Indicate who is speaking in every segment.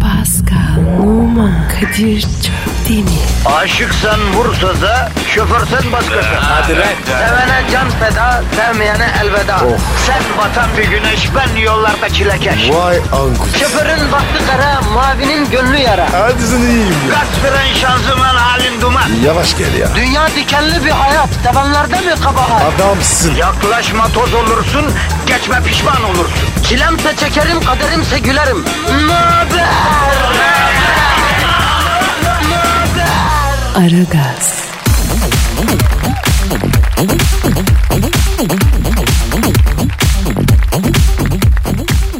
Speaker 1: Pascal, Oman, Kadir çok değil mi?
Speaker 2: Aşıksan vursa da şoförsen başkasın.
Speaker 3: Hadi lan. Oh.
Speaker 2: Sevene can feda, sevmeyene elveda. Sen batan bir güneş, ben yollarda çilekeş.
Speaker 3: Vay anku.
Speaker 2: Şoförün baktı kara, mavinin gönlü yara.
Speaker 3: Hadi sen iyiyim ya.
Speaker 2: Kasperen şanzıman halin duman.
Speaker 3: Yavaş gel ya.
Speaker 2: Dünya dikenli bir hayat, sevenlerde mi kabahar?
Speaker 3: Adamsın.
Speaker 2: Yaklaşma toz olursun, geçme pişman olursun. Çilemse çekerim, kaderimse gülerim. Möber!
Speaker 1: Aragaz,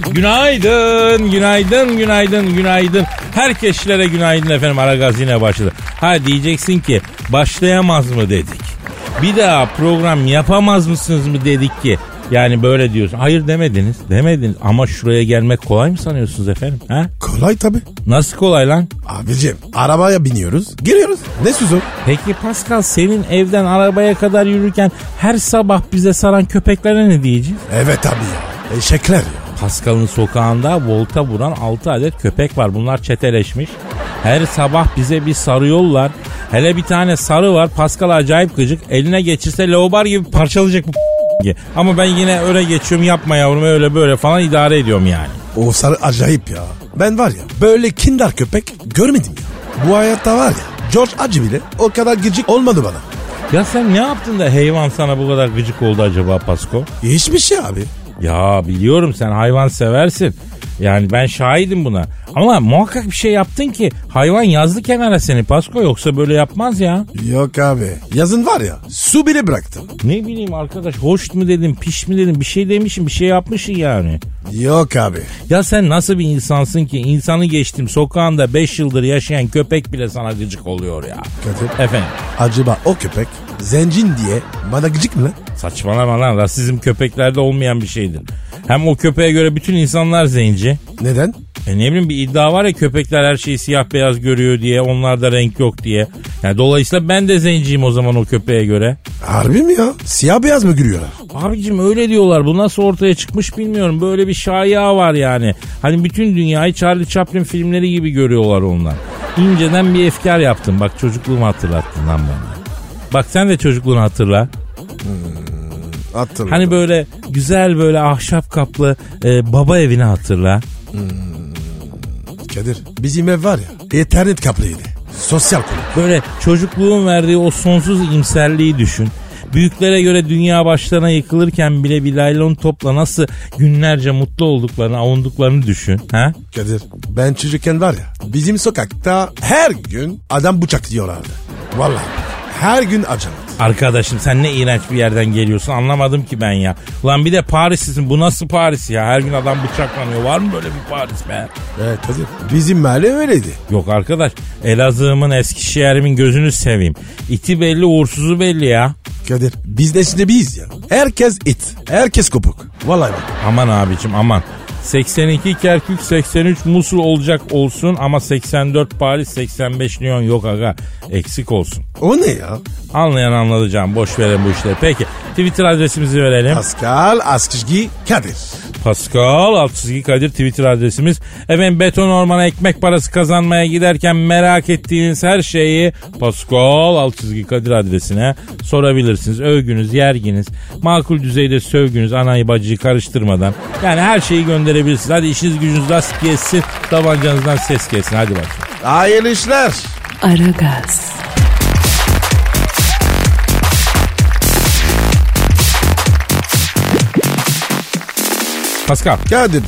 Speaker 4: Günaydın, günaydın, günaydın, günaydın. Herkeşlere günaydın efendim. Ara Gaz yine başladı. Ha diyeceksin ki başlayamaz mı dedik. Bir daha program yapamaz mısınız mı dedik ki. Yani böyle diyorsun. Hayır demediniz, demediniz. Ama şuraya gelmek kolay mı sanıyorsunuz efendim? Ha?
Speaker 3: Kolay tabi.
Speaker 4: Nasıl kolay lan?
Speaker 3: Abicim arabaya biniyoruz. Giriyoruz. Ne süzü?
Speaker 4: Peki Pascal senin evden arabaya kadar yürürken her sabah bize saran köpeklere ne diyeceğiz?
Speaker 3: Evet abi ya. Eşekler ya.
Speaker 4: Pascal'ın sokağında volta vuran 6 adet köpek var. Bunlar çeteleşmiş. Her sabah bize bir sarıyorlar. Hele bir tane sarı var. Pascal acayip gıcık. Eline geçirse leobar gibi parçalayacak bu Ama ben yine öyle geçiyorum yapma yavrum öyle böyle falan idare ediyorum yani.
Speaker 3: O sarı acayip ya. Ben var ya böyle kindar köpek görmedim ya. Bu hayatta var ya George Acı bile o kadar gıcık olmadı bana.
Speaker 4: Ya sen ne yaptın da heyvan sana bu kadar gıcık oldu acaba Pasko?
Speaker 3: Hiçbir şey abi.
Speaker 4: Ya biliyorum sen hayvan seversin. Yani ben şahidim buna. Ama muhakkak bir şey yaptın ki hayvan yazdı kenara seni Pasko yoksa böyle yapmaz ya.
Speaker 3: Yok abi. Yazın var ya su bile bıraktım.
Speaker 4: Ne bileyim arkadaş hoş mu dedim piş mi dedim bir şey demişim bir şey yapmışsın yani.
Speaker 3: Yok abi.
Speaker 4: Ya sen nasıl bir insansın ki insanı geçtim sokağında 5 yıldır yaşayan köpek bile sana gıcık oluyor ya.
Speaker 3: Kadir.
Speaker 4: Efendim
Speaker 3: Acaba o köpek zencin diye bana gıcık mı lan?
Speaker 4: saçmalama lan rasizm köpeklerde olmayan bir şeydir. Hem o köpeğe göre bütün insanlar zenci.
Speaker 3: Neden?
Speaker 4: E ne bileyim bir iddia var ya köpekler her şeyi siyah beyaz görüyor diye onlarda renk yok diye. Yani dolayısıyla ben de zenciyim o zaman o köpeğe göre.
Speaker 3: Harbi mi ya? Siyah beyaz mı gülüyorlar?
Speaker 4: Abicim öyle diyorlar. Bu nasıl ortaya çıkmış bilmiyorum. Böyle bir şaya var yani. Hani bütün dünyayı Charlie Chaplin filmleri gibi görüyorlar onlar. İnceden bir efkar yaptım. Bak çocukluğumu hatırlattın lan bana. Bak sen de çocukluğunu hatırla.
Speaker 3: Attım.
Speaker 4: Hani böyle güzel böyle ahşap kaplı e, baba evini hatırla.
Speaker 3: Kadir bizim ev var ya internet kaplıydı. Sosyal konu.
Speaker 4: Böyle çocukluğun verdiği o sonsuz imserliği düşün. Büyüklere göre dünya başlarına yıkılırken bile bir laylon topla nasıl günlerce mutlu olduklarını, avunduklarını düşün. Ha?
Speaker 3: Kadir ben çocukken var ya bizim sokakta her gün adam bıçak diyorlardı. Vallahi her gün acımadı.
Speaker 4: Arkadaşım sen ne iğrenç bir yerden geliyorsun anlamadım ki ben ya. Lan bir de Parislisin bu nasıl Paris ya her gün adam bıçaklanıyor var mı böyle bir Paris be?
Speaker 3: Evet Kadir bizim mahalle öyleydi.
Speaker 4: Yok arkadaş Elazığ'ımın Eskişehir'imin gözünü seveyim. İti belli uğursuzu belli ya.
Speaker 3: Kadir biz de eşnebiyiz ya. Herkes it. Herkes kopuk. Vallahi bak.
Speaker 4: Aman abicim aman. 82 Kerkük 83 Musul olacak olsun ama 84 Paris 85 Lyon yok aga eksik olsun.
Speaker 3: O ne ya?
Speaker 4: Anlayan anlatacağım boş verin bu işleri. Peki Twitter adresimizi verelim.
Speaker 3: Pascal Askışgi Kadir.
Speaker 4: Pascal Altçizgi Kadir Twitter adresimiz. Efendim beton ormana ekmek parası kazanmaya giderken merak ettiğiniz her şeyi Pascal Altçizgi Kadir adresine sorabilirsiniz. Övgünüz, yerginiz, makul düzeyde sövgünüz, anayı bacıyı karıştırmadan. Yani her şeyi gönderebilirsiniz. Hadi işiniz gücünüz rast gelsin, tabancanızdan ses gelsin. Hadi bakayım.
Speaker 3: Hayırlı işler.
Speaker 1: Aragaz,
Speaker 4: Pascal,
Speaker 3: Kadir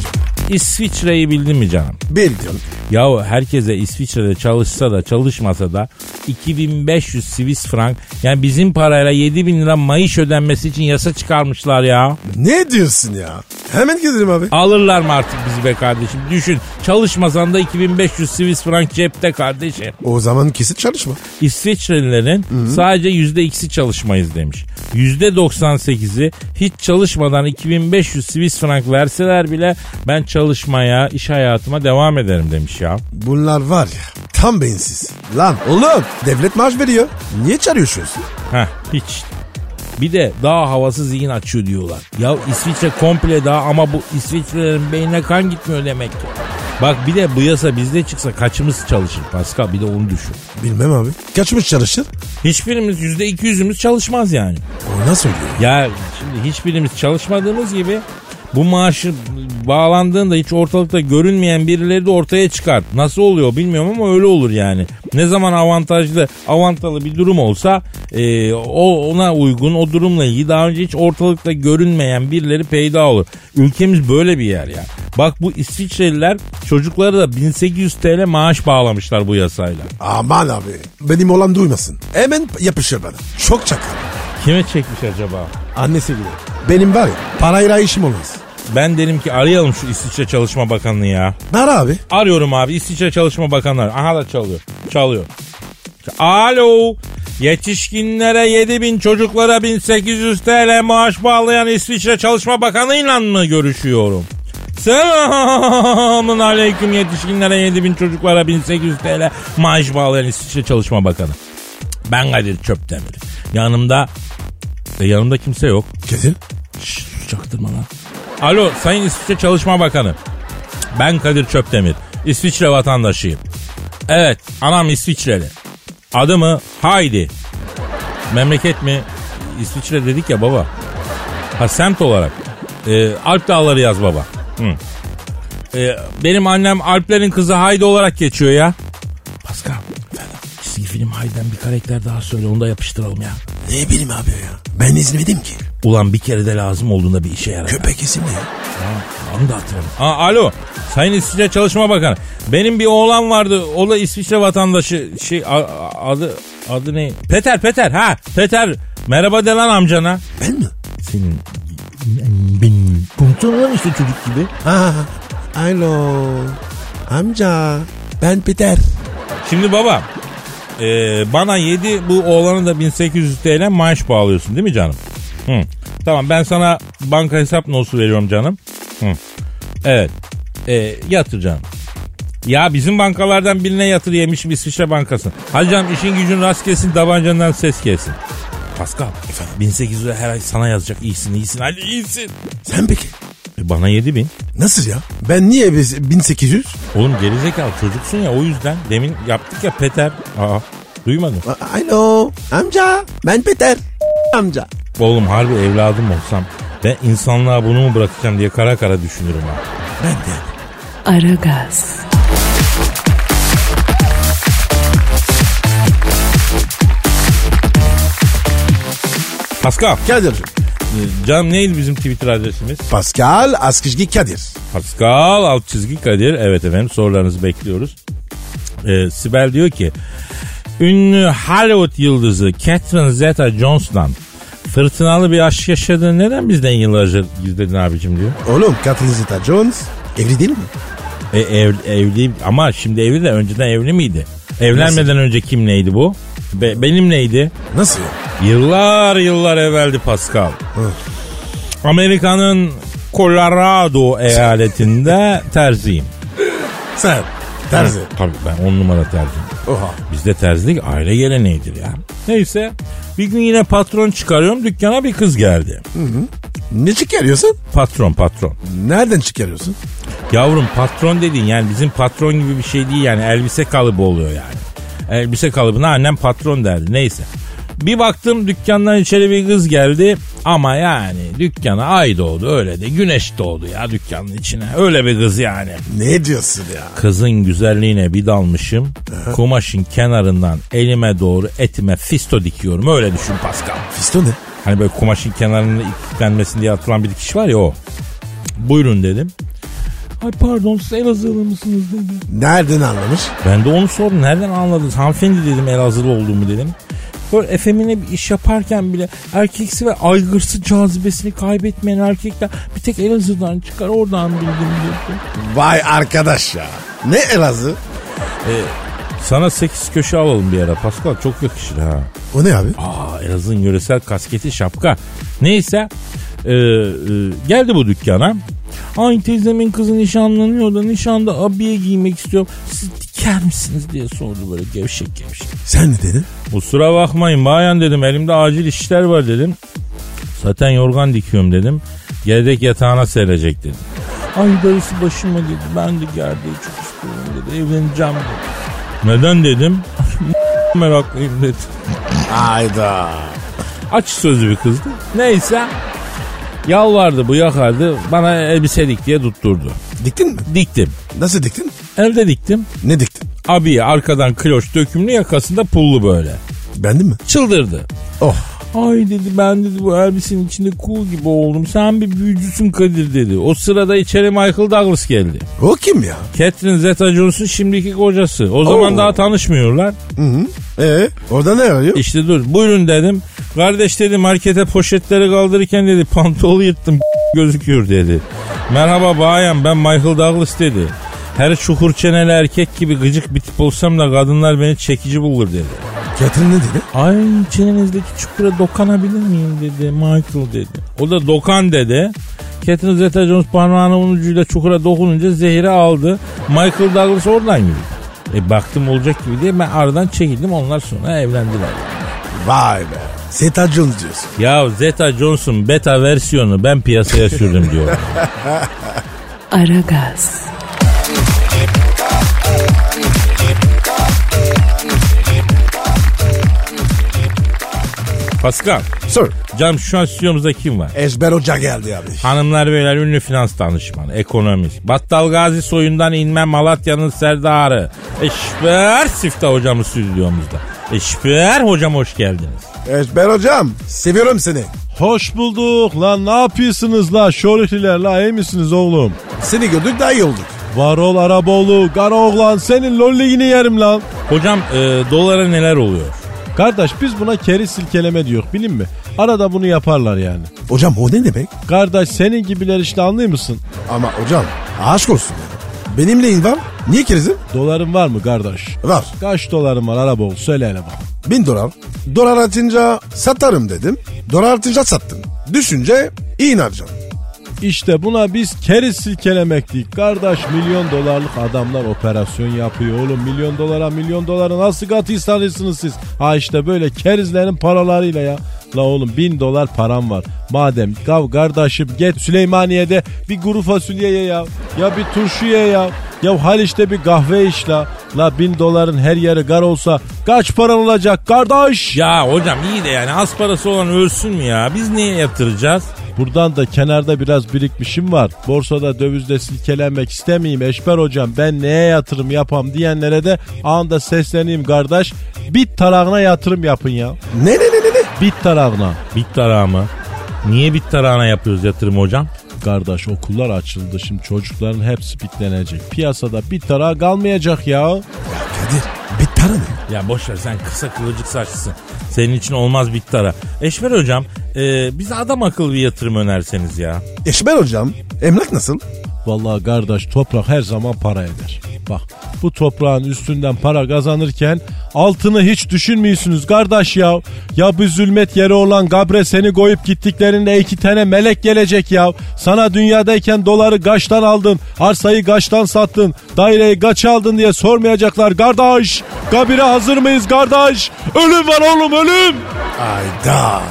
Speaker 4: İsviçre'yi bildin mi canım?
Speaker 3: bildim.
Speaker 4: Yahu herkese İsviçre'de çalışsa da çalışmasa da 2500 Swiss frank yani bizim parayla 7000 lira maaş ödenmesi için yasa çıkarmışlar ya.
Speaker 3: Ne diyorsun ya? Hemen gidelim abi.
Speaker 4: Alırlar mı artık bizi be kardeşim? Düşün çalışmasan da 2500 Swiss frank cepte kardeşim.
Speaker 3: O zaman kesin çalışma.
Speaker 4: İsviçrelilerin sadece %2'si çalışmayız demiş. %98'i hiç çalışmadan 2500 Swiss frank verseler bile ben çalışmaya, iş hayatıma devam ederim demiş ya.
Speaker 3: Bunlar var ya tam beyinsiz. Lan oğlum devlet maaş veriyor. Niye çağırıyorsunuz?
Speaker 4: Heh hiç. Bir de daha havası zihin açıyor diyorlar. Ya İsviçre komple daha ama bu İsviçrelerin beynine kan gitmiyor demek ki. Bak bir de bu yasa bizde çıksa kaçımız çalışır Pascal bir de onu düşün.
Speaker 3: Bilmem abi. Kaçmış çalışır?
Speaker 4: Hiçbirimiz yüzde iki yüzümüz çalışmaz yani.
Speaker 3: O nasıl oluyor?
Speaker 4: Ya şimdi hiçbirimiz çalışmadığımız gibi bu maaşı bağlandığında hiç ortalıkta görünmeyen birileri de ortaya çıkar. Nasıl oluyor bilmiyorum ama öyle olur yani. Ne zaman avantajlı, avantalı bir durum olsa e, o ona uygun o durumla ilgili daha önce hiç ortalıkta görünmeyen birileri peyda olur. Ülkemiz böyle bir yer ya. Bak bu İsviçreliler çocuklara da 1800 TL maaş bağlamışlar bu yasayla.
Speaker 3: Aman abi. Benim olan duymasın. Hemen yapışır bana. Çok çakal.
Speaker 4: Kime çekmiş acaba?
Speaker 3: Annesi bile. Benim var ya parayla işim olmaz.
Speaker 4: Ben derim ki arayalım şu İsviçre Çalışma Bakanı'nı ya.
Speaker 3: Nara abi.
Speaker 4: Arıyorum abi İsviçre Çalışma Bakanı. arıyor. Aha da çalıyor. Çalıyor. Alo. Yetişkinlere 7000 çocuklara 1800 TL maaş bağlayan İsviçre Çalışma Bakanı'yla mı görüşüyorum? Selamun aleyküm yetişkinlere 7000 çocuklara 1800 TL maaş bağlayan İsviçre Çalışma Bakanı. Ben Kadir Çöptemir. Yanımda e, yanımda kimse yok.
Speaker 3: Kesin.
Speaker 4: Şşş sus, çaktırma lan. Alo Sayın İsviçre Çalışma Bakanı. Ben Kadir Çöptemir. İsviçre vatandaşıyım. Evet anam İsviçreli. Adı mı? Haydi. Memleket mi? İsviçre dedik ya baba. Ha semt olarak. Ee, Alp Dağları yaz baba. Hı. Ee, benim annem Alplerin kızı Haydi olarak geçiyor ya. Pascal. Çizgi film Haydi'den bir karakter daha söyle onu da yapıştıralım ya.
Speaker 3: Ne bileyim abi ya. Ben izlemedim ki.
Speaker 4: Ulan bir kere de lazım olduğunda bir işe yarar.
Speaker 3: Köpek isim ne ya?
Speaker 4: Onu da hatırladım. Aa, alo. Sayın İsviçre Çalışma Bakanı. Benim bir oğlan vardı. O da İsviçre vatandaşı. Şey a- a- adı adı ne? Peter Peter. Ha Peter. Merhaba de lan amcana.
Speaker 3: Ben mi?
Speaker 4: Senin benim komutanım işte çocuk gibi.
Speaker 3: Ha. Alo. Amca. Ben Peter.
Speaker 4: Şimdi baba e, bana 7 bu oğlanı da 1800 TL maaş bağlıyorsun değil mi canım? Hı. Tamam ben sana banka hesap notu veriyorum canım. Hı. Evet e, yatır canım. Ya bizim bankalardan birine yatır yemişim İsviçre Bankası. Hadi canım işin gücün rast gelsin tabancandan ses gelsin. Pascal efendim 1800 lira her ay sana yazacak iyisin iyisin hadi iyisin.
Speaker 3: Sen peki.
Speaker 4: E, bana 7000.
Speaker 3: Nasıl ya? Ben niye biz 1800?
Speaker 4: Oğlum gerizekalı çocuksun ya o yüzden demin yaptık ya Peter. Aa duymadın.
Speaker 3: A- Alo. Amca. Ben Peter. Amca.
Speaker 4: Oğlum harbi evladım olsam ben insanlığa bunu mu bırakacağım diye kara kara düşünürüm ha.
Speaker 3: Ben de.
Speaker 1: Aragaz,
Speaker 4: Pascal.
Speaker 3: Kadir.
Speaker 4: e, Canım neydi bizim Twitter adresimiz?
Speaker 3: Pascal Askışgi Kadir.
Speaker 4: Pascal alt çizgi Kadir. Evet efendim sorularınızı bekliyoruz. E, Sibel diyor ki ünlü Hollywood yıldızı Catherine Zeta-Jones'la fırtınalı bir aşk yaşadığını neden bizden yıllarca gizledin abicim diyor.
Speaker 3: Oğlum Catherine Zeta Jones. Evli değil mi?
Speaker 4: E, ev, evli ama şimdi evli de önceden evli miydi? Evlenmeden önce kim neydi bu? Be, benim neydi?
Speaker 3: Nasıl ya?
Speaker 4: Yıllar yıllar evveldi Pascal.
Speaker 3: Hı.
Speaker 4: Amerika'nın Colorado eyaletinde terziyim.
Speaker 3: Sen. Terzi.
Speaker 4: Tabii ben on numara terziyim.
Speaker 3: Oha.
Speaker 4: Bizde terzilik aile geleneğidir ya. Neyse bir gün yine patron çıkarıyorum dükkana bir kız geldi.
Speaker 3: Ne çıkarıyorsun?
Speaker 4: Patron patron.
Speaker 3: Nereden çıkarıyorsun?
Speaker 4: Yavrum patron dediğin yani bizim patron gibi bir şey değil yani elbise kalıbı oluyor yani. Elbise kalıbına annem patron derdi neyse. Bir baktım dükkandan içeri bir kız geldi ama yani dükkana ay doğdu öyle de güneş doğdu ya dükkanın içine öyle bir kız yani.
Speaker 3: Ne diyorsun ya?
Speaker 4: Kızın güzelliğine bir dalmışım kumaşın kenarından elime doğru etime fisto dikiyorum öyle düşün Pascal.
Speaker 3: Fisto ne?
Speaker 4: Hani böyle kumaşın kenarında iliklenmesin diye atılan bir dikiş var ya o. Buyurun dedim. Ay pardon siz Elazığlı mısınız dedi.
Speaker 3: Nereden anlamış?
Speaker 4: Ben de onu sordum. Nereden anladınız? Hanımefendi dedim Elazığlı olduğumu dedim. Böyle efemine bir iş yaparken bile erkeksi ve aygırsı cazibesini kaybetmeyen erkekler bir tek Elazığ'dan çıkar oradan bildim dedi.
Speaker 3: Vay arkadaş ya. Ne Elazığ?
Speaker 4: Sana 8 köşe alalım bir ara Pascal çok yakışır ha.
Speaker 3: O ne abi?
Speaker 4: Aa Elazığ'ın yöresel kasketi şapka. Neyse e, e, geldi bu dükkana. Ay teyzemin kızı nişanlanıyor da nişanda abiye giymek istiyorum. Siz diker misiniz diye sordu böyle gevşek gevşek.
Speaker 3: Sen ne dedin?
Speaker 4: Kusura bakmayın bayan dedim elimde acil işler var dedim. Zaten yorgan dikiyorum dedim. Gerideki yatağına serecek dedim. Ay darısı başıma dedi. Ben de gerdeği çok istiyorum dedi. Evleneceğim dedi. Neden dedim? Meraklıyım dedi.
Speaker 3: Hayda.
Speaker 4: Aç sözlü bir kızdı. Neyse. Yalvardı bu yakardı. Bana elbise dik diye tutturdu.
Speaker 3: Diktin mi?
Speaker 4: Diktim.
Speaker 3: Nasıl diktin?
Speaker 4: Evde diktim.
Speaker 3: Ne diktin?
Speaker 4: Abi arkadan kloş dökümlü yakasında pullu böyle.
Speaker 3: Bendin mi?
Speaker 4: Çıldırdı.
Speaker 3: Oh.
Speaker 4: Ay dedi ben dedi bu elbisenin içinde kuğu gibi oldum. Sen bir büyücüsün Kadir dedi. O sırada içeri Michael Douglas geldi.
Speaker 3: O kim ya?
Speaker 4: Catherine Zeta-Jones'un şimdiki kocası. O zaman
Speaker 3: Oo.
Speaker 4: daha tanışmıyorlar.
Speaker 3: Hı hı. Ee, orada ne arıyor?
Speaker 4: İşte dur buyurun dedim. Kardeş dedi markete poşetleri kaldırırken dedi pantolu yırttım gözüküyor dedi. Merhaba bayan ben Michael Douglas dedi. Her çukur çeneli erkek gibi gıcık bir tip olsam da kadınlar beni çekici bulur dedi.
Speaker 3: Catherine ne dedi?
Speaker 4: Ay çenenizdeki çukura dokanabilir miyim dedi Michael dedi. O da dokan dedi. Catherine Zeta-Jones parmağının ucuyla çukura dokununca zehri aldı. Michael Douglas oradan yürüdü. E baktım olacak gibi diye ben aradan çekildim onlar sonra evlendiler.
Speaker 3: Vay be. Seta Jones diyorsun.
Speaker 4: Ya Zeta Johnson beta versiyonu ben piyasaya sürdüm diyor.
Speaker 1: Aragaz,
Speaker 4: Pascal,
Speaker 3: Sor.
Speaker 4: canım şu an stüdyomuzda kim var?
Speaker 3: Ezber Hoca geldi abi.
Speaker 4: Hanımlar beyler ünlü finans danışmanı, ekonomist. Battal Gazi soyundan inme Malatya'nın serdarı. Eşber Sifta hocamız stüdyomuzda. Eşber hocam hoş geldiniz.
Speaker 3: Ezber Hocam. Seviyorum seni.
Speaker 5: Hoş bulduk lan ne yapıyorsunuz la şorihliler la iyi misiniz oğlum?
Speaker 3: Seni gördük daha iyi olduk.
Speaker 5: Varol Araboğlu, Gara oğlan senin lolligini yerim lan.
Speaker 4: Hocam e, dolara neler oluyor?
Speaker 5: Kardeş biz buna keri silkeleme diyor bilin mi? Arada bunu yaparlar yani.
Speaker 3: Hocam o ne demek?
Speaker 5: Kardeş senin gibiler işte anlıyor musun?
Speaker 3: Ama hocam aşk olsun. ya. Benim neyin var? Niye kerizim?
Speaker 5: Doların var mı kardeş?
Speaker 3: Var.
Speaker 5: Kaç doların var Araboğlu söyle hele bak.
Speaker 3: Bin dolar. Dolar artınca satarım dedim. Dolar artınca sattım. Düşünce iyi harcadım.
Speaker 5: İşte buna biz keriz silkelemek değil. Kardeş milyon dolarlık adamlar operasyon yapıyor oğlum. Milyon dolara milyon dolara nasıl katı sanırsınız siz? Ha işte böyle kerizlerin paralarıyla ya. La oğlum bin dolar param var. Madem kav kardeşim git Süleymaniye'de bir kuru fasulye ye ya. Ya bir turşu ye ya. Ya Haliç'te bir kahve iç la. La bin doların her yeri gar olsa kaç paran olacak kardeş?
Speaker 4: Ya hocam iyi de yani az parası olan ölsün mü ya? Biz niye yatıracağız?
Speaker 5: Buradan da kenarda biraz birikmişim var. Borsada dövizde silkelenmek istemeyeyim Eşber hocam ben neye yatırım yapam diyenlere de anda sesleneyim kardeş. Bit tarağına yatırım yapın ya.
Speaker 3: Ne ne ne ne ne?
Speaker 5: Bit tarağına.
Speaker 4: Bit tarağı mı? Niye bit tarağına yapıyoruz yatırım hocam?
Speaker 5: Kardeş okullar açıldı şimdi çocukların hepsi bitlenecek. Piyasada bit tarağı kalmayacak ya.
Speaker 3: Ya Kadir bit para ne?
Speaker 4: Ya boş ver sen kısa kıvırcık saçlısın. Senin için olmaz bitti ara. Eşmer hocam e, bize adam akıllı bir yatırım önerseniz ya.
Speaker 3: Eşber hocam emlak nasıl?
Speaker 5: Vallahi kardeş toprak her zaman para eder. Bak bu toprağın üstünden para kazanırken altını hiç düşünmüyorsunuz kardeş ya. Ya bu zulmet yeri olan kabre seni koyup gittiklerinde iki tane melek gelecek ya. Sana dünyadayken doları kaçtan aldın, arsayı kaçtan sattın, daireyi kaç aldın diye sormayacaklar kardeş. Kabire hazır mıyız kardeş? Ölüm var oğlum ölüm.
Speaker 3: Ayda.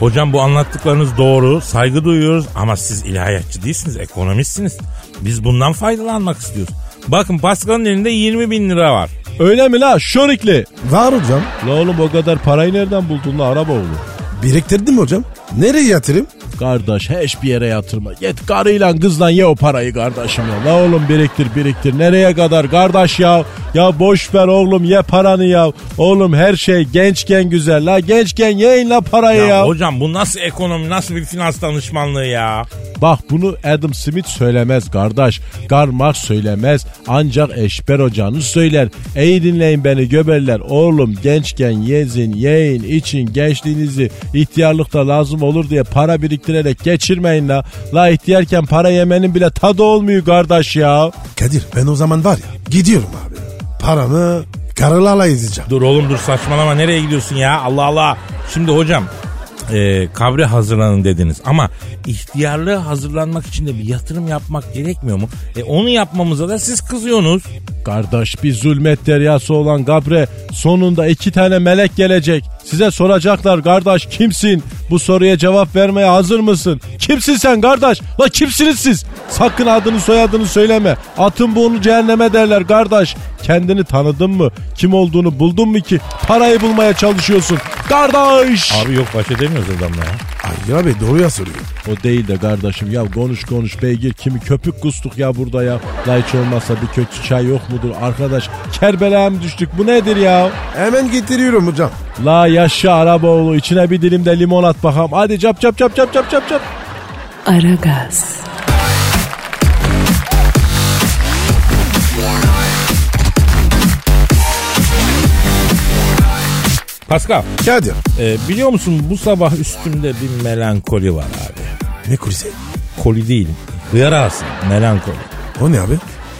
Speaker 4: Hocam bu anlattıklarınız doğru. Saygı duyuyoruz ama siz ilahiyatçı değilsiniz. Ekonomistsiniz. Biz bundan faydalanmak istiyoruz. Bakın Pascal'ın elinde 20 bin lira var.
Speaker 5: Öyle mi la şorikli?
Speaker 3: Var hocam.
Speaker 5: La oğlum o kadar parayı nereden buldun la araba oğlum?
Speaker 3: Biriktirdim hocam. Nereye yatırayım?
Speaker 5: Kardeş hiçbir yere yatırma. Git karıyla kızla ye o parayı kardeşim ya. La oğlum biriktir biriktir. Nereye kadar kardeş ya? Ya boş ver oğlum ye paranı ya. Oğlum her şey gençken güzel. La gençken yeyin la parayı
Speaker 4: Ya,
Speaker 5: ya.
Speaker 4: hocam bu nasıl ekonomi, nasıl bir finans danışmanlığı ya?
Speaker 5: Bak bunu Adam Smith söylemez kardeş. Garmak söylemez. Ancak Eşber hocanız söyler. İyi dinleyin beni göberler. Oğlum gençken yezin, yeyin, için gençliğinizi ihtiyarlıkta lazım olur diye para biriktirerek geçirmeyin la. La ihtiyarken para yemenin bile tadı olmuyor kardeş ya.
Speaker 3: Kadir ben o zaman var ya gidiyorum abi. Paramı karılarla izleyeceğim.
Speaker 4: Dur oğlum dur saçmalama nereye gidiyorsun ya? Allah Allah. Şimdi hocam e, e, kabre hazırlanın dediniz. Ama ihtiyarlığa hazırlanmak için de bir yatırım yapmak gerekmiyor mu? E, onu yapmamıza da siz kızıyorsunuz.
Speaker 5: Kardeş bir zulmet deryası olan kabre sonunda iki tane melek gelecek. Size soracaklar kardeş kimsin? Bu soruya cevap vermeye hazır mısın? Kimsin sen kardeş? La kimsiniz siz? Sakın adını soyadını söyleme. Atın bunu cehenneme derler kardeş. Kendini tanıdın mı? Kim olduğunu buldun mu ki? Parayı bulmaya çalışıyorsun. Kardeş!
Speaker 4: Abi yok baş edemiyoruz adamla ya.
Speaker 3: Ay abi doğruya soruyor.
Speaker 5: O değil de kardeşim ya konuş konuş beygir kimi köpük kustuk ya burada ya. La hiç olmazsa bir kötü çay yok mudur arkadaş? Kerbela'ya mı düştük bu nedir ya?
Speaker 3: Hemen getiriyorum hocam.
Speaker 5: La yaşa Araboğlu içine bir dilim de limon at bakalım. Hadi cap cap cap cap cap cap cap.
Speaker 1: Aragaz,
Speaker 4: Pascal
Speaker 3: Kadir.
Speaker 4: e, biliyor musun bu sabah üstümde bir melankoli var abi.
Speaker 3: Ne kulise?
Speaker 4: Koli değil. Hıyarası melankoli.
Speaker 3: O ne abi?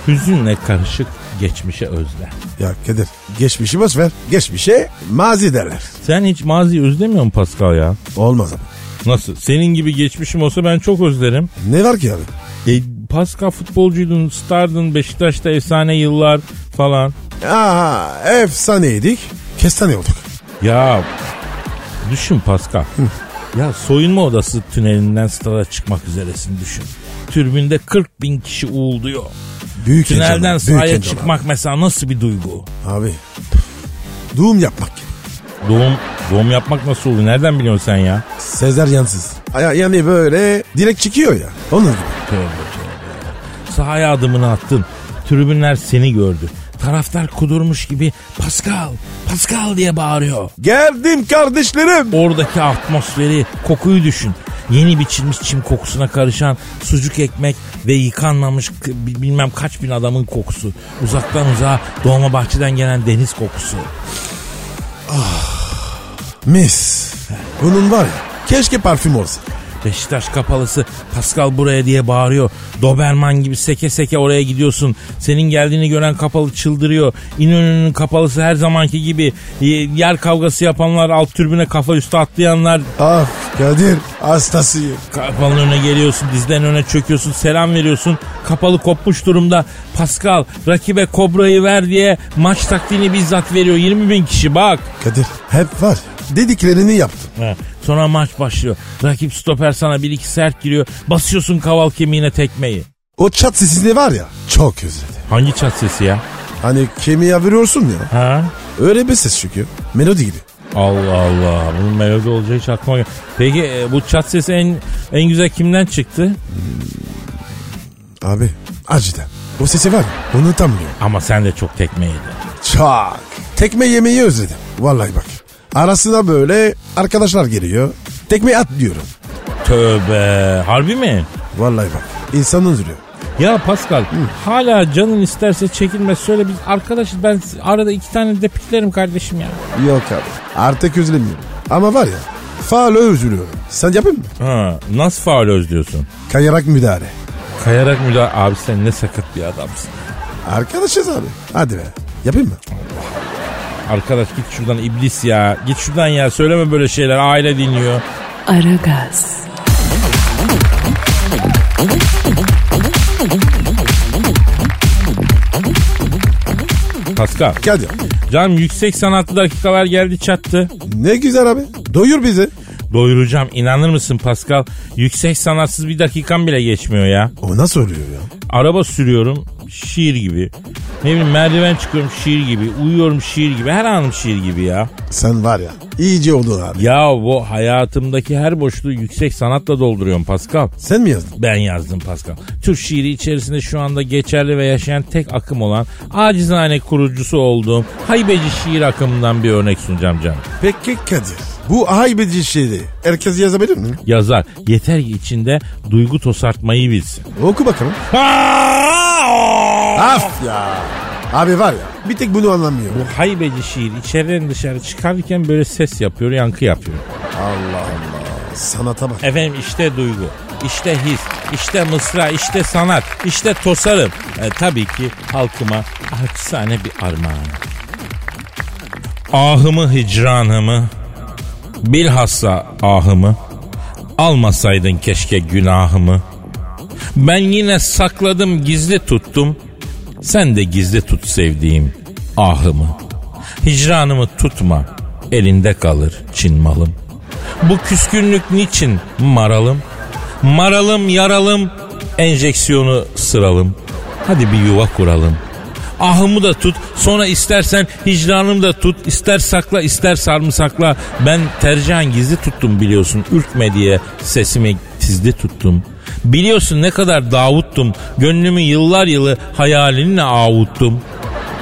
Speaker 4: Hüzünle karışık geçmişe özlem.
Speaker 3: Ya Kadir geçmişi boş ver. Geçmişe mazi derler.
Speaker 4: Sen hiç maziyi özlemiyor musun Pascal ya?
Speaker 3: Olmaz abi.
Speaker 4: Nasıl? Senin gibi geçmişim olsa ben çok özlerim.
Speaker 3: Ne var ki abi?
Speaker 4: E, Pascal futbolcuydun, stardın, Beşiktaş'ta efsane yıllar falan.
Speaker 3: Aha efsaneydik. Kestane olduk.
Speaker 4: Ya düşün Pascal. ya soyunma odası tünelinden stada çıkmak üzeresin düşün. Türbünde 40 bin kişi uğulduyor.
Speaker 3: Büyük heyecan abi,
Speaker 4: Tünelden
Speaker 3: büyük
Speaker 4: sahaya
Speaker 3: heyecan
Speaker 4: çıkmak mesela nasıl bir duygu?
Speaker 3: Abi. Abi, püf, Doğum yapmak gibi.
Speaker 4: Doğum doğum yapmak nasıl oluyor? Nereden biliyorsun sen ya?
Speaker 3: Sezer yansız. Aya- Yani böyle direkt çıkıyor ya. Onun gibi.
Speaker 4: Tövbe tövbe. Sahaya adımını attın. Tribünler seni gördü. Taraftar kudurmuş gibi Pascal, Pascal diye bağırıyor.
Speaker 3: Geldim kardeşlerim.
Speaker 4: Oradaki atmosferi, kokuyu düşün. Yeni biçilmiş çim kokusuna karışan sucuk ekmek ve yıkanmamış k- bi- bilmem kaç bin adamın kokusu. Uzaktan uzağa doğma bahçeden gelen deniz kokusu.
Speaker 3: Mis. Bunun var ya. Keşke parfüm olsa.
Speaker 4: Beşiktaş kapalısı Pascal buraya diye bağırıyor. Doberman gibi seke seke oraya gidiyorsun. Senin geldiğini gören kapalı çıldırıyor. İnönü'nün kapalısı her zamanki gibi e, yer kavgası yapanlar alt türbüne kafa üstü atlayanlar
Speaker 3: Ah Kadir hastasıyım.
Speaker 4: kapalının önüne geliyorsun dizden öne çöküyorsun selam veriyorsun kapalı kopmuş durumda Pascal rakibe kobrayı ver diye maç taktiğini bizzat veriyor 20 bin kişi bak
Speaker 3: Kadir hep var. ya, Dediklerini yaptım.
Speaker 4: He. Sonra maç başlıyor. Rakip stoper sana bir iki sert giriyor. Basıyorsun kaval kemiğine tekmeyi.
Speaker 3: O çat sesini var ya çok özledim.
Speaker 4: Hangi çat sesi ya?
Speaker 3: Hani kemiğe vuruyorsun ya.
Speaker 4: Ha?
Speaker 3: Öyle bir ses çünkü. Melodi gibi.
Speaker 4: Allah Allah. Bunun melodi olacağı hiç aklıma gel- Peki e, bu çat sesi en en güzel kimden çıktı?
Speaker 3: Abi acıdan. O sesi var ya unutamıyorum.
Speaker 4: Ama sen de çok tekme yedin.
Speaker 3: Çak. Tekme yemeyi özledim. Vallahi bak. Arasına böyle arkadaşlar geliyor. Tekme at diyorum.
Speaker 4: Tövbe. Harbi mi?
Speaker 3: Vallahi bak. İnsanın üzülüyor.
Speaker 4: Ya Pascal hala canın isterse çekinme söyle biz arkadaşız ben arada iki tane de piklerim kardeşim ya.
Speaker 3: Yok abi. Artık üzülmüyorum. Ama var ya. Faal üzülüyorum. Sen yapayım mı?
Speaker 4: Ha, nasıl faal özlüyorsun?
Speaker 3: Kayarak müdahale.
Speaker 4: Kayarak müdahale abi sen ne sakat bir adamsın.
Speaker 3: Arkadaşız abi. Hadi be. Yapayım mı?
Speaker 4: Arkadaş git şuradan iblis ya. Git şuradan ya söyleme böyle şeyler aile dinliyor.
Speaker 1: Aragaz,
Speaker 4: Pascal.
Speaker 3: Kadir.
Speaker 4: Canım yüksek sanatlı dakikalar geldi çattı.
Speaker 3: Ne güzel abi. Doyur bizi.
Speaker 4: Doyuracağım inanır mısın Pascal? Yüksek sanatsız bir dakikam bile geçmiyor ya.
Speaker 3: O nasıl oluyor ya?
Speaker 4: Araba sürüyorum şiir gibi. Ne bileyim merdiven çıkıyorum şiir gibi. Uyuyorum şiir gibi. Her anım şiir gibi ya.
Speaker 3: Sen var ya. iyice oldun abi.
Speaker 4: Ya bu hayatımdaki her boşluğu yüksek sanatla dolduruyorum Pascal.
Speaker 3: Sen mi yazdın?
Speaker 4: Ben yazdım Pascal. Türk şiiri içerisinde şu anda geçerli ve yaşayan tek akım olan acizane kurucusu olduğum haybeci şiir akımından bir örnek sunacağım canım.
Speaker 3: Peki Kadir. Bu haybedici şeydi. Herkes yazabilir mi?
Speaker 4: Yazar yeter ki içinde duygu tosartmayı bilsin.
Speaker 3: Oku bakalım. Af ya. Abi var ya. Bir tek bunu anlamıyor.
Speaker 4: Bu haybeci şiir içeriden dışarı çıkarken böyle ses yapıyor, yankı yapıyor.
Speaker 3: Allah Allah. Sanata bak.
Speaker 4: Efendim işte duygu, işte his, işte mısra, işte sanat, işte tosarım. E, tabii ki halkıma acizane bir armağan. Ahımı hicranımı, Bilhassa ahımı almasaydın keşke günahımı. Ben yine sakladım gizli tuttum. Sen de gizli tut sevdiğim ahımı. Hicranımı tutma elinde kalır Çin malım. Bu küskünlük niçin maralım? Maralım yaralım enjeksiyonu sıralım. Hadi bir yuva kuralım. Ahımı da tut sonra istersen hicranımı da tut ister sakla ister sarımsakla. Ben tercihen gizli tuttum biliyorsun ürkme diye sesimi tizli tuttum. Biliyorsun ne kadar davuttum gönlümü yıllar yılı hayalinle avuttum.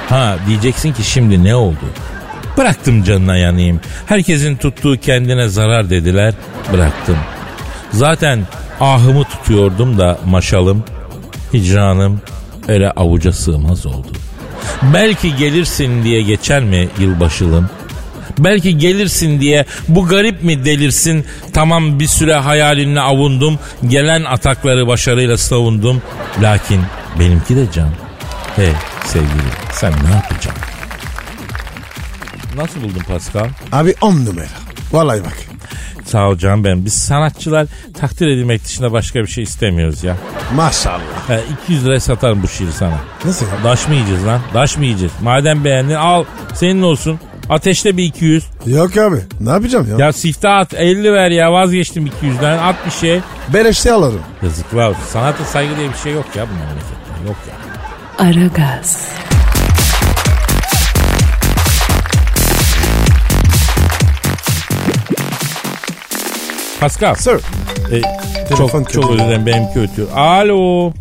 Speaker 4: Ha diyeceksin ki şimdi ne oldu? Bıraktım canına yanayım. Herkesin tuttuğu kendine zarar dediler. Bıraktım. Zaten ahımı tutuyordum da maşalım. Hicranım öyle avuca sığmaz oldu. Belki gelirsin diye geçer mi yılbaşılım? Belki gelirsin diye bu garip mi delirsin? Tamam bir süre hayalinle avundum. Gelen atakları başarıyla savundum. Lakin benimki de can. Hey sevgili sen ne yapacaksın? Nasıl buldun Pascal?
Speaker 3: Abi on numara. Vallahi bak.
Speaker 4: Sağ ol canım ben. Biz sanatçılar takdir edilmek dışında başka bir şey istemiyoruz ya.
Speaker 3: Maşallah.
Speaker 4: He, 200 liraya satarım bu şiiri sana.
Speaker 3: Nasıl ya?
Speaker 4: Daş mı yiyeceğiz lan? Daş mı yiyeceğiz? Madem beğendin al senin olsun. Ateşle bir 200.
Speaker 3: Yok abi. Ne yapacağım ya?
Speaker 4: Ya sifte at 50 ver ya vazgeçtim 200'den at bir şey.
Speaker 3: Beleşte alırım.
Speaker 4: Yazıklar olsun. Sanata saygı diye bir şey yok ya bu memlekette. Yok ya.
Speaker 1: Aragaz,
Speaker 4: Pascal.
Speaker 3: Sir.
Speaker 4: e,
Speaker 3: Telefon
Speaker 4: çok, çok
Speaker 3: kötü.
Speaker 4: özür dilerim benimki ötüyor. Alo.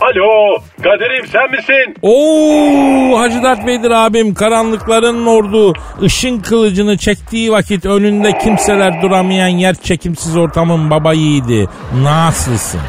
Speaker 5: Alo Kadir'im sen misin?
Speaker 4: Oo Hacı Dert Bey'dir abim karanlıkların ordu ışın kılıcını çektiği vakit önünde kimseler duramayan yer çekimsiz ortamın baba yiğidi. Nasılsın?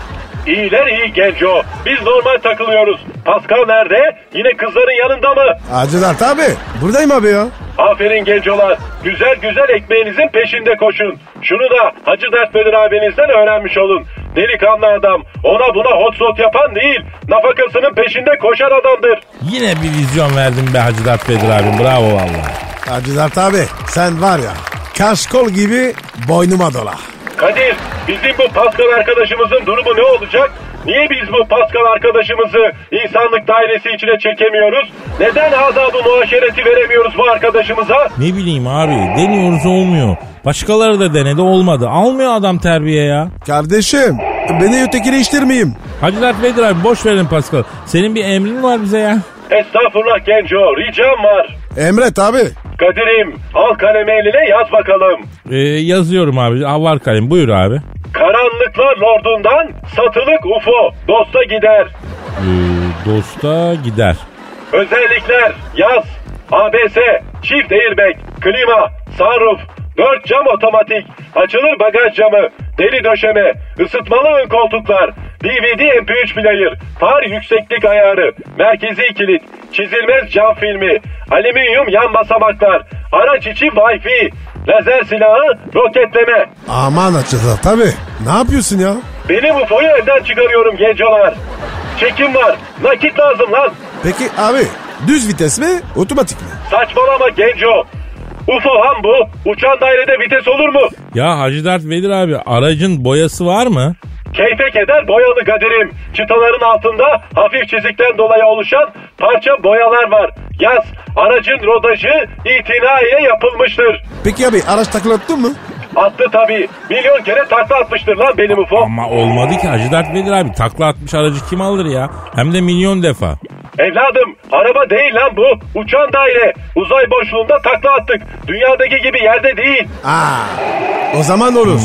Speaker 5: İyiler iyi genco. Biz normal takılıyoruz. Pascal nerede? Yine kızların yanında mı?
Speaker 3: Hacı Dert abi. Buradayım abi ya.
Speaker 5: Aferin gencolar. Güzel güzel ekmeğinizin peşinde koşun. Şunu da Hacı Dert Bedir abinizden öğrenmiş olun. Delikanlı adam. Ona buna hot shot yapan değil. Nafakasının peşinde koşan adamdır.
Speaker 4: Yine bir vizyon verdin be Hacı Dert Bedir abim bravo valla.
Speaker 3: Hacı Dert abi. Sen var ya. Kaşkol gibi boynuma dola.
Speaker 5: Kadir bizim bu Pascal arkadaşımızın durumu ne olacak? Niye biz bu Pascal arkadaşımızı insanlık dairesi içine çekemiyoruz? Neden adabı muaşereti veremiyoruz bu arkadaşımıza?
Speaker 4: Ne bileyim abi deniyoruz olmuyor. Başkaları da denedi olmadı. Almıyor adam terbiye ya.
Speaker 3: Kardeşim. Beni ötekileştirmeyeyim.
Speaker 4: Hacı Dert Bedir abi boş verin Pascal. Senin bir emrin var bize ya.
Speaker 5: Estağfurullah genco ricam var.
Speaker 3: Emret abi.
Speaker 5: Kadir'im al kalemi eline yaz bakalım.
Speaker 4: Ee, yazıyorum abi. Al var kalem buyur abi.
Speaker 5: Karanlıklar lordundan satılık UFO dosta gider.
Speaker 4: Ee, dosta gider.
Speaker 5: Özellikler yaz, ABS, çift airbag, klima, sunroof, 4 cam otomatik, açılır bagaj camı, deri döşeme, ısıtmalı ön koltuklar, DVD MP3 player, far yükseklik ayarı, merkezi kilit, çizilmez cam filmi, alüminyum yan basamaklar, araç içi Wi-Fi, lazer silahı, roketleme.
Speaker 3: Aman Hacı Dert abi. Ne yapıyorsun ya?
Speaker 5: Benim UFO'yu evden çıkarıyorum gencolar. Çekim var, nakit lazım lan.
Speaker 3: Peki abi. Düz vites mi? Otomatik mi?
Speaker 5: Saçmalama genco. UFO ham bu. Uçan dairede vites olur mu?
Speaker 4: Ya Hacı Dert Vedir abi aracın boyası var mı?
Speaker 5: Keyfe keder boyalı kaderim. Çıtaların altında hafif çizikten dolayı oluşan parça boyalar var. Yaz, aracın rodajı itina ile yapılmıştır.
Speaker 3: Peki abi araç taklattın mı?
Speaker 5: Attı tabii. Milyon kere takla atmıştır lan benim UFO.
Speaker 4: Ama olmadı ki Hacı Dert Vedir abi takla atmış aracı kim alır ya? Hem de milyon defa.
Speaker 5: Evladım, araba değil lan bu. Uçan daire. Uzay boşluğunda takla attık. Dünyadaki gibi yerde değil.
Speaker 3: Aa, o zaman olur.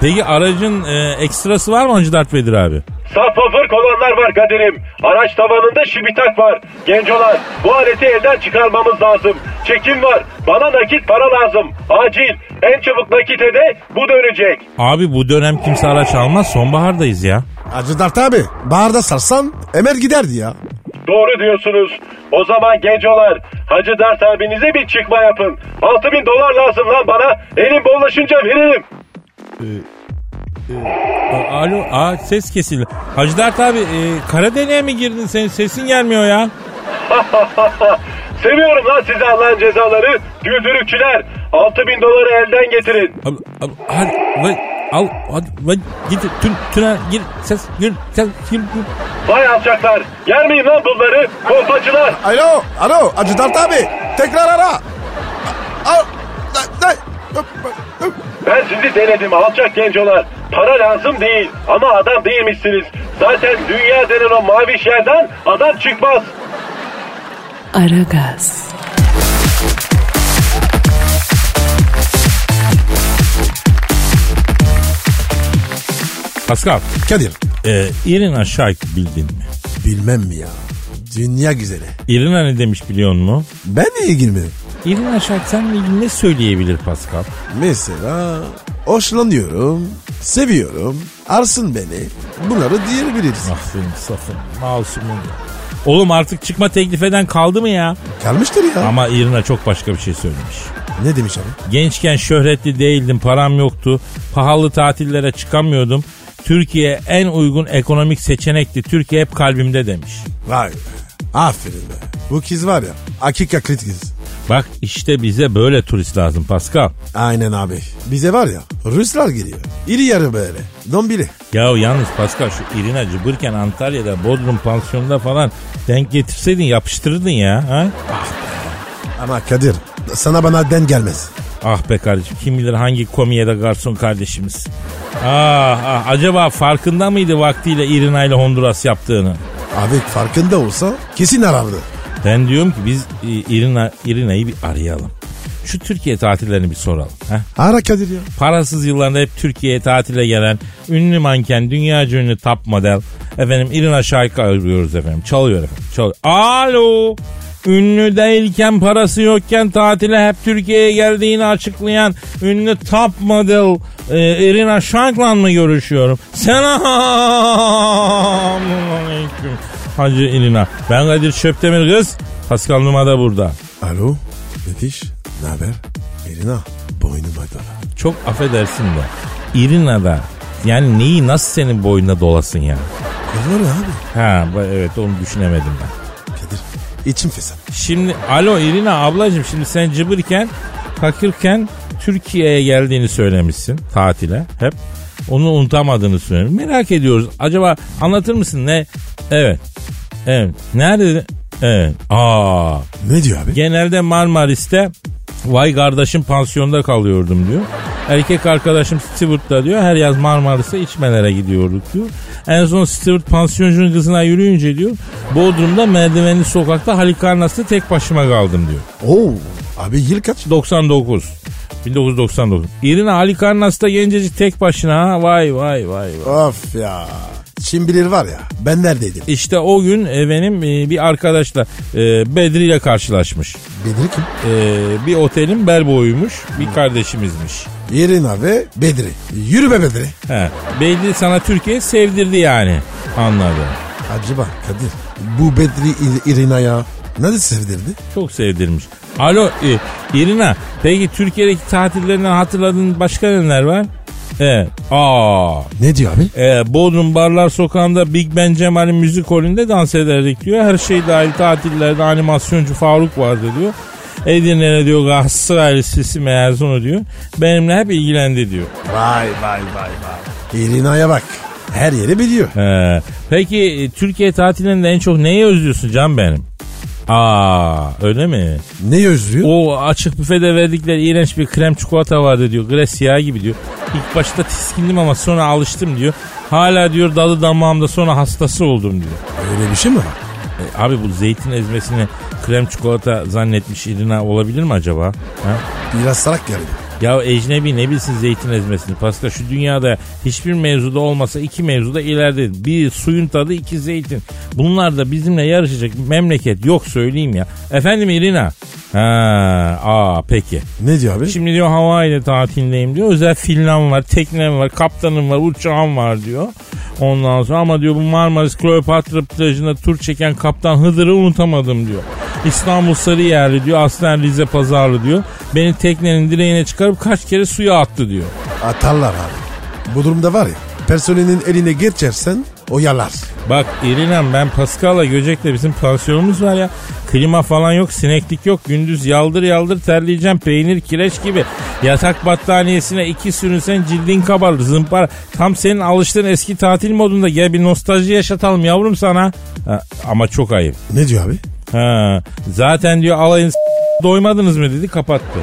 Speaker 4: Peki aracın e, ekstrası var mı Hacı Dert Vedir abi?
Speaker 5: Saf fırk olanlar var kaderim. Araç tavanında şibitak var. Gencolar bu aleti elden çıkarmamız lazım. Çekim var. Bana nakit para lazım. Acil. En çabuk nakite de bu dönecek.
Speaker 4: Abi bu dönem kimse araç almaz sonbahardayız ya.
Speaker 3: Hacı Dert abi baharda sarsan Emel giderdi ya.
Speaker 5: Doğru diyorsunuz. O zaman gencolar Hacı Dert abinize bir çıkma yapın. 6000 dolar lazım lan bana. Elim bollaşınca veririm.
Speaker 4: A- Alo aa, ses kesildi. Hacı Dert abi e, kara deliğe mi girdin senin sesin gelmiyor ya.
Speaker 5: Seviyorum lan sizi Allah'ın cezaları. Güldürükçüler.
Speaker 6: 6000 doları elden getirin.
Speaker 4: Al, al, hadi, vay, al, hadi, vay, git, tün, tünel, gir, ses, gir, ses, gir, gir.
Speaker 6: Vay alçaklar. Yer miyim lan bunları? Kolpacılar.
Speaker 3: Alo, alo Hacı Dert abi tekrar ara. Al, da, da, öp, öp, öp.
Speaker 6: Ben sizi denedim alçak gencolar. Para lazım değil ama adam değilmişsiniz. Zaten dünya denen o maviş yerden adam çıkmaz.
Speaker 1: Aragaz,
Speaker 4: Pascal,
Speaker 3: Kadir
Speaker 4: e, İrina Shayk bildin mi?
Speaker 3: bilmem mi ya dünya güzeli.
Speaker 4: İrina ne demiş biliyor musun?
Speaker 3: Ben niye girmedim?
Speaker 4: İrina Shayk seninle ilgili ne söyleyebilir Pascal?
Speaker 3: Mesela hoşlanıyorum, seviyorum, arsın beni. Bunları diyebiliriz.
Speaker 4: Mahzun, safın, masumun. Oğlum artık çıkma teklif eden kaldı mı ya?
Speaker 3: Kalmıştır ya.
Speaker 4: Ama İrina çok başka bir şey söylemiş.
Speaker 3: Ne demiş abi?
Speaker 4: Gençken şöhretli değildim, param yoktu. Pahalı tatillere çıkamıyordum. Türkiye en uygun ekonomik seçenekti. Türkiye hep kalbimde demiş.
Speaker 3: Vay be. Aferin be. Bu kız var ya hakika kritik kız.
Speaker 4: Bak işte bize böyle turist lazım Pascal.
Speaker 3: Aynen abi. Bize var ya Ruslar geliyor. İri yarı böyle. Dombili.
Speaker 4: Ya yalnız Pascal şu İrina cıbırken Antalya'da Bodrum pansiyonunda falan denk getirseydin yapıştırırdın ya. Ha?
Speaker 3: Ama Kadir sana bana den gelmez.
Speaker 4: Ah be kardeşim kim bilir hangi komiye de garson kardeşimiz. Ah, ah acaba farkında mıydı vaktiyle İrina ile Honduras yaptığını?
Speaker 3: Abi farkında olsa kesin arardı.
Speaker 4: Ben diyorum ki biz e, İrina İrina'yı bir arayalım. Şu Türkiye tatillerini bir soralım. Heh.
Speaker 3: Ara Kadir ya.
Speaker 4: Parasız yıllarında hep Türkiye'ye tatile gelen ünlü manken, dünyaca ünlü top model. Efendim İrina Şayka arıyoruz efendim. Çalıyor efendim. Çalıyor. Alo. Ünlü değilken parası yokken tatile hep Türkiye'ye geldiğini açıklayan ünlü top model e, Irina Shayk'la mı görüşüyorum? Selamünaleyküm. Hacı Irina. Ben Kadir Çöptemir kız. Pascal Numa da burada.
Speaker 3: Alo. Betiş. Ne haber? Elina. Boynuma dola.
Speaker 4: Çok affedersin de. İrina'da yani neyi nasıl senin boynuna dolasın ya?
Speaker 3: Kolları abi.
Speaker 4: Ha ba- evet onu düşünemedim ben.
Speaker 3: Kadir. İçim fesat.
Speaker 4: Şimdi alo İrina ablacığım şimdi sen cıbırken fakirken Türkiye'ye geldiğini söylemişsin tatile hep. Onu unutamadığını söylüyorum. Merak ediyoruz. Acaba anlatır mısın ne? Evet. Evet. Nerede? Evet. Aa.
Speaker 3: Ne diyor abi?
Speaker 4: Genelde Marmaris'te vay kardeşim pansiyonda kalıyordum diyor. Erkek arkadaşım Stewart'ta diyor her yaz Marmaris'e içmelere gidiyorduk diyor. En son Stewart pansiyoncunun kızına yürüyünce diyor Bodrum'da merdivenli sokakta Halikarnas'ta tek başıma kaldım diyor.
Speaker 3: Oo. Abi yıl kaç?
Speaker 4: 99. 1999. İrina Halikarnas'ta gencecik tek başına ha. Vay vay vay vay.
Speaker 3: Of ya. Kim bilir var ya ben neredeydim?
Speaker 4: İşte o gün e, benim e, bir arkadaşla e, Bedri ile karşılaşmış.
Speaker 3: Bedri kim?
Speaker 4: E, bir otelin berboyuymuş. Bir kardeşimizmiş.
Speaker 3: Irina ve Bedri. Yürü be Bedri.
Speaker 4: He, belli sana Türkiye sevdirdi yani. Anladım.
Speaker 3: Acaba Kadir bu Bedri İ- Irina'ya nasıl sevdirdi?
Speaker 4: Çok sevdirmiş. Alo e, İrina peki Türkiye'deki tatillerinden hatırladığın başka neler var? Evet. Aa,
Speaker 3: Ne diyor abi?
Speaker 4: e, Bodrum Barlar Sokağı'nda Big Ben Cemal'in müzik holünde dans ederdik diyor. Her şey dahil tatillerde animasyoncu Faruk vardı diyor. Edirne'de diyor Galatasaray Lisesi mezunu diyor. Benimle hep ilgilendi diyor.
Speaker 3: Vay vay vay vay. Irina'ya bak. Her yeri biliyor.
Speaker 4: He. Peki e, Türkiye tatilinde en çok neyi özlüyorsun can benim? Aa öyle mi?
Speaker 3: Ne özlüyor?
Speaker 4: O açık büfede verdikleri iğrenç bir krem çikolata vardı diyor. Gres yağı gibi diyor. İlk başta tiskindim ama sonra alıştım diyor. Hala diyor dalı damağımda sonra hastası oldum diyor.
Speaker 3: Öyle bir şey mi var?
Speaker 4: E, abi bu zeytin ezmesini krem çikolata zannetmiş İrina olabilir mi acaba? Ha?
Speaker 3: Biraz salak geldi.
Speaker 4: Ya ecnebi ne bilsin zeytin ezmesini. Paska şu dünyada hiçbir mevzuda olmasa iki mevzuda ileride. Bir suyun tadı iki zeytin. Bunlar da bizimle yarışacak bir memleket yok söyleyeyim ya. Efendim İrina. Ha, aa peki.
Speaker 3: Ne diyor abi?
Speaker 4: Şimdi diyor Hawaii'de tatildeyim diyor. Özel filan var, teknem var, kaptanım var, uçağım var diyor. Ondan sonra ama diyor bu Marmaris Kleopatra plajında tur çeken kaptan Hıdır'ı unutamadım diyor. İstanbul Sarıyerli diyor, aslen Rize Pazarlı diyor. Beni teknenin direğine çıkarıp kaç kere suya attı diyor.
Speaker 3: Atarlar abi. Bu durumda var ya personelin eline geçersen o yalar.
Speaker 4: Bak İrinem ben Pascal'la Göcek'le bizim pansiyonumuz var ya. Klima falan yok, sineklik yok. Gündüz yaldır yaldır terleyeceğim peynir kireç gibi. Yatak battaniyesine iki sürünsen cildin kabarır zımpara. Tam senin alıştığın eski tatil modunda gel bir nostalji yaşatalım yavrum sana. Ha, ama çok ayıp.
Speaker 3: Ne diyor abi?
Speaker 4: Ha, zaten diyor alayın s- doymadınız mı dedi kapattı.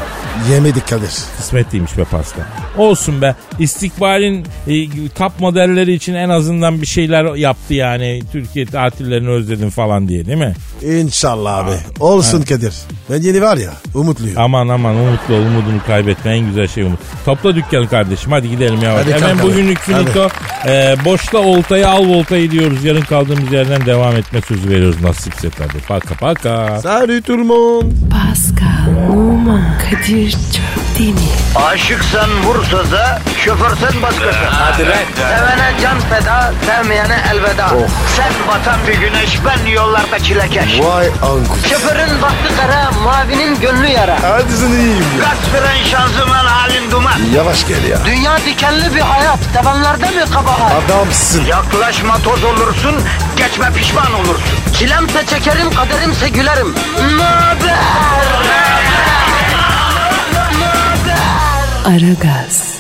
Speaker 3: Yemedik Kadir.
Speaker 4: Kısmetliymiş be Pascal. Olsun be. İstikbalin e, top modelleri için en azından bir şeyler yaptı yani. Türkiye tatillerini özledim falan diye değil mi?
Speaker 3: İnşallah abi. Olsun Kadir. Ben yeni var ya umutluyum.
Speaker 4: Aman aman umutlu ol, umudunu kaybetme en güzel şey umut. Topla dükkanı kardeşim hadi gidelim yavaş.
Speaker 3: Hadi
Speaker 4: Hemen
Speaker 3: kalkalım.
Speaker 4: bugünlük
Speaker 3: Hadi.
Speaker 4: finito. E, boşla oltayı al voltayı diyoruz. Yarın kaldığımız yerden devam etme sözü veriyoruz nasipse tabii. Paka paka.
Speaker 3: Salut tout le monde.
Speaker 1: Pascal, Oman, Kadir çok değil mi?
Speaker 2: Aşıksan vursa da, şoförsen başkasın. Hadi Sevene can feda, sevmeyene elveda. Sen batan bir güneş, ben yollarda çilekeş.
Speaker 3: Vay anku.
Speaker 2: Şoförün baktı kara, mavinin gönlü yara.
Speaker 3: Hadi sen iyiyim ya.
Speaker 2: Kasperen şanzıman halin duman.
Speaker 3: Yavaş gel ya.
Speaker 2: Dünya dikenli bir hayat, sevenlerde mi kabahar?
Speaker 3: Adamsın.
Speaker 2: Yaklaşma toz olursun, geçme pişman olursun. Çilemse çekerim, kaderimse gülerim. Möber!
Speaker 1: Aragaz.